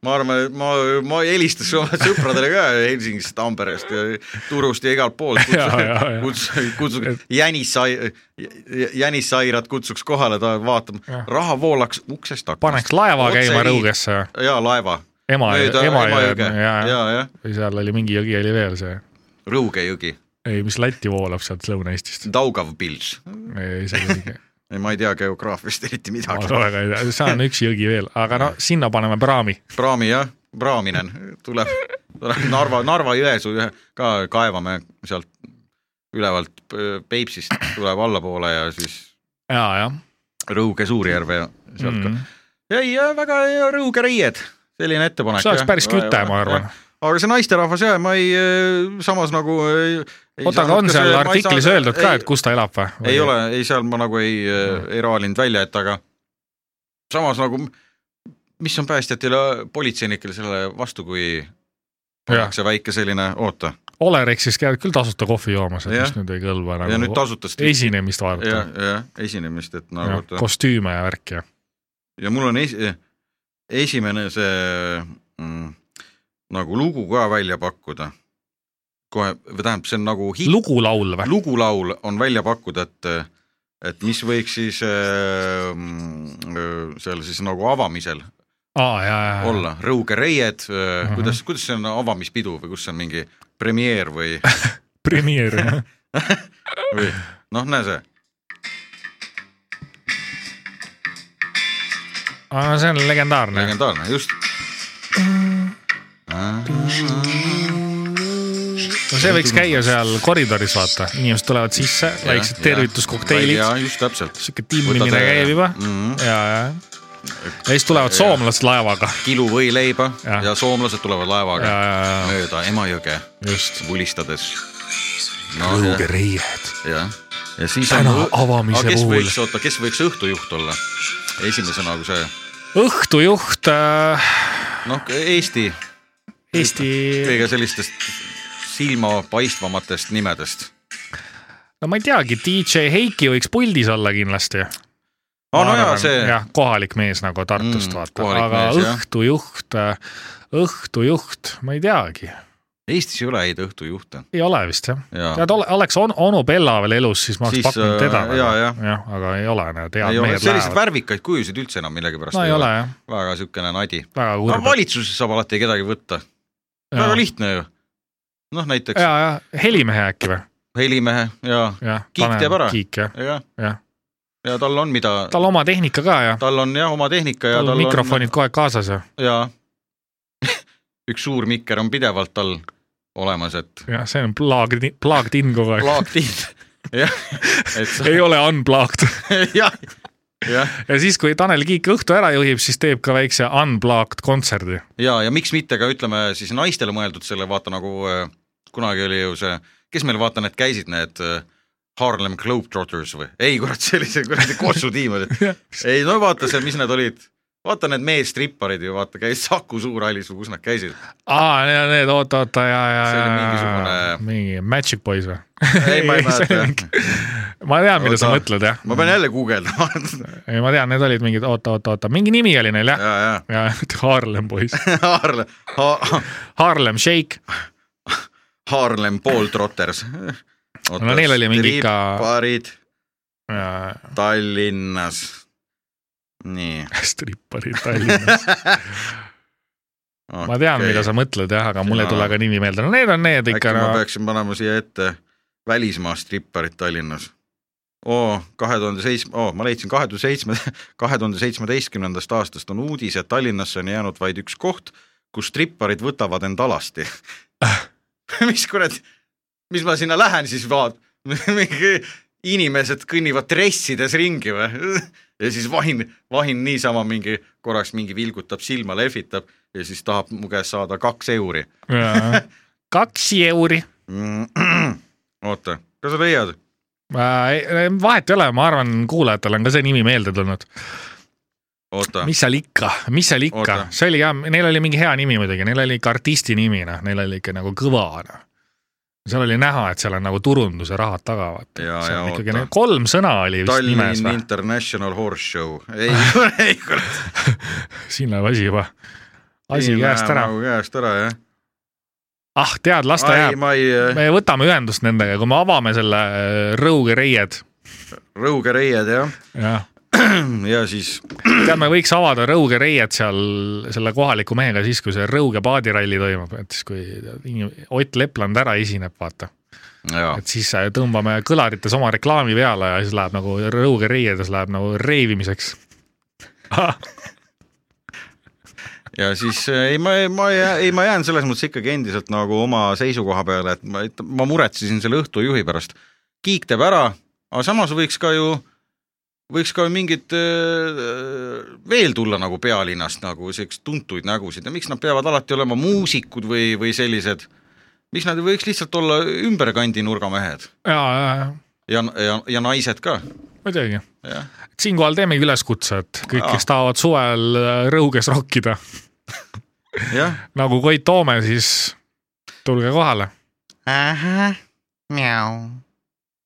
ma arvan , et ma , ma helistasin oma sõpradele ka Helsingist , Tamperest ja Turust ja igalt poolt
Ja, ja, ja.
kutsuks , kutsuks , Jänis sai- , Jänis Sairat kutsuks kohale , ta vaatab , raha voolaks uksest aknast .
paneks laeva käima . Rõugesse ja
jaa , laeva .
ema , Emajõge
ja ,
ja
ja , jah ,
või seal oli mingi jõgi oli veel see ,
Rõuge jõgi ,
ei , mis Läti voolab sealt Lõuna-Eestist .
Daugav pils .
ei , see oli mingi
ei , ma ei tea geograafiast eriti
ma
midagi .
väga ei tea , seal on üks jõgi veel , aga no sinna paneme praami .
praami jah , praaminen tuleb , tuleb Narva , Narva-Jõesuu ühe ka kaevame sealt ülevalt P- Peipsist tuleb allapoole ja siis
ja , jah Mhm.
Rõuge Suurjärve ja sealt mm. ka . ei , väga hea Rõuge reied , selline ettepanek .
see oleks päris küte , ma arvan ..
aga see naisterahvas jah , ma ei , samas nagu ei, ei
oota , aga
saanud
on
ka
seal
see- ma ei
artiklis
saanud-
öeldud ka , et Mhm. kus ta elab või ?
ei ole , ei seal ma nagu ei , ei raalinud välja , et aga samas nagu mis on päästjatel ja politseinikel selle vastu , kui pannakse väike selline , oota ,
Olerexis käivad küll tasuta kohvi joomas , et
Jah.
mis nüüd ei kõlba
ja nüüd
nagu
tasuta stiili
esinemist
ja
vaadata .,
ja esinemist , et
Jah,
nagu oota
kostüüme ja värki ja
ja mul on es- , esimene see mm, nagu lugu ka välja pakkuda . kohe , või tähendab , see on nagu hit ,
lugulaul või ?
lugulaul on välja pakkuda , et et mis võiks siis äh, mm, seal siis nagu avamisel
aa , jaa , jaa , jaa .
olla , Rõuge reied
Äh. Mhm.
äh, , kuidas , kuidas see on avamispidu või kus see on mingi premeer või ,
premiär .
või noh , näe see ,
aa , see on legendaarne .
legendaarne , just .
no see võiks käia seal koridoris , vaata , inimesed tulevad sisse , väiksed tervituskokteilid ,
jaa , just täpselt .
sihuke timmimine käib juba
Mhm.
ja , ja . ja siis tulevad soomlased laevaga
kilu võileiba
Jah.
ja. ja soomlased tulevad laevaga
ja , ja , ja
mööda Emajõge
just .
vulistades .
riied .
ja, ja siis
Täna
on...
avamise
Aga kes
puhul.
võiks , oota , kes võiks õhtujuht olla ? esimesena nagu see ,
õhtujuht äh, ,
noh , Eesti
Eesti ,
kõige sellistest silmapaistvamatest nimedest .
no ma ei teagi , DJ Heiki võiks puldis olla kindlasti .
aa , Ah, no jaa , see ja.
jah , kohalik mees nagu Tartust
Mm,
mm, vaata ,
kohalik
aga
mees,
mees,
jah.
õhtujuht , õhtujuht , ma ei teagi ,
Eestis ei ole häid õhtujuhte .
ei ole vist jah .
jaa ,
tead , oleks on, onu Bella veel elus , siis ma oleks
Ah. Siis,
pakkunud
äh,
teda .
jaa, jah.
jah , aga ei ole , näed , head
ei ole
mehed
selliseid
lähevad .
värvikaid kujusid üldse enam millegipärast
no ei ole . jah ,
väga siukene nadi .
väga
no
kurb .
valitsuses saab alati kedagi võtta , väga lihtne ju . noh , näiteks
ja , ja helimehe äkki või ?
helimehe ja ,
jah ,
Kiik teab ära.
Kiik jah ,
ja ,
jah .
ja tal on mida ,
tal oma tehnika ka ja ,
tal on jah oma tehnika ja
tal
tal
on mikrofonid kogu aeg kaasas ja ,
on ja üks suur mikker on pidevalt tal olemas , et
jah , see on plugged , plugged in kogu aeg .
plaat tiit jah , et sa-
ei ole unplugged
jah , jah ,
ja siis , kui Tanel Kiik õhtu ära juhib , siis teeb ka väikse unplugged kontserdi .
ja , ja miks mitte ka ütleme siis naistele mõeldud selle vaata nagu äh, kunagi oli ju see , kes meil vaata need käisid , need äh, Harlem Globetrotters või , ei kurat , see oli see kuradi kossutiim oli , ei no vaata seal , mis need olid , vaata need meestripparid ju vaata käis Saku Suurhallis või kus nad käisid ,
aa , need , need , oota , oota ja , ja ,
See oli
ja ,
mingisugune-
mingi Magic Boys või ?
ei ma ei mäleta .
ma tean , mida sa
Oota.
mõtled jah .
ma pean jälle guugeldama .
ei , ma tean , need olid mingid , oota , oota , oota , mingi nimi oli neil jah ?
ja , ja ,
ja Harlem Boys ,
Haarlem ha, ,
Harlem Shake ,
Haarlem Pooltrotters .
No neil oli mingi ikka-
parid
äh,
Tallinnas . nii
stripparid Tallinnas .
okay.
ma tean , mida sa mõtled jah , aga mul ei
Jaa.
tule ka nimi meelde , no need on need
äkki
ikka
no...
no
ma peaksin panema siia ette välismaa stripparid Tallinnas . oo , kahe tuhande seitsme , oo , ma leidsin kahe tuhande seitsme , kahe tuhande seitsmeteistkümnendast aastast on uudis , et Tallinnasse on jäänud vaid üks koht , kus stripparid võtavad end alasti . mis kurat , mis ma sinna lähen siis vaat- , mingi inimesed kõnnivad dressides ringi või ? ja siis vahin , vahin niisama mingi korraks mingi vilgutab silma , lehvitab ja siis tahab mu käest saada kaks euri
Jaa. kaks euri .
Mm, oota , kas sa leiad ?
vahet Äh, ei ole , ma arvan , kuulajatel on ka see nimi meelde tulnud .
oota ,
mis seal ikka , mis seal ikka
Oota. ,
see oli jah , neil oli mingi hea nimi muidugi , neil oli ikka artisti nimi , noh , neil oli ikka nagu kõva , noh . seal oli näha , et seal on nagu turunduse rahad taga , vaata .
Jaa,
seal on
jaa,
ikkagi
oota.
need kolm sõna oli vist Tallinn nimes
Tallinn
või ?
International Horse Show , ei , ei kurat .
siin läheb asi juba , asi käest ära .
nagu käest ära jah .
ah , tead , las ta
ai , äh,
jääb .
ma ei ,
me võtame ühendust nendega , kui me avame selle äh, Rõuge reied ,
Rõuge reied jah ,
jah .
ja siis
tead , me võiks avada Rõuge reied seal selle kohaliku mehega siis , kui see Rõuge paadiralli toimub , et siis kui inim- Ott Lepland ära esineb , vaata .
jaa ,
et siis äh, tõmbame kõlarites oma reklaami peale ja siis läheb nagu Rõuge reiedes läheb nagu reivimiseks .
ja siis eh, ei , ma , ma ei , ei ma jään selles mõttes ikkagi endiselt nagu oma seisukoha peale , et ma , et ma muretsesin selle õhtujuhi pärast . kiik teeb ära , aga samas võiks ka ju võiks ka mingid äh, veel tulla nagu pealinnast nagu selliseid tuntuid nägusid ja miks nad peavad alati olema muusikud või , või sellised , miks nad ei võiks lihtsalt olla ümberkandi nurgamehed
ja , ja , ja
ja , ja , ja naised ka ,
muidugi .
jah .
siinkohal teemegi üleskutse , et kõik , kes tahavad suvel äh, rõuges rokkida
jah ,
nagu Koit Toome , siis tulge kohale .
ahah , mjau .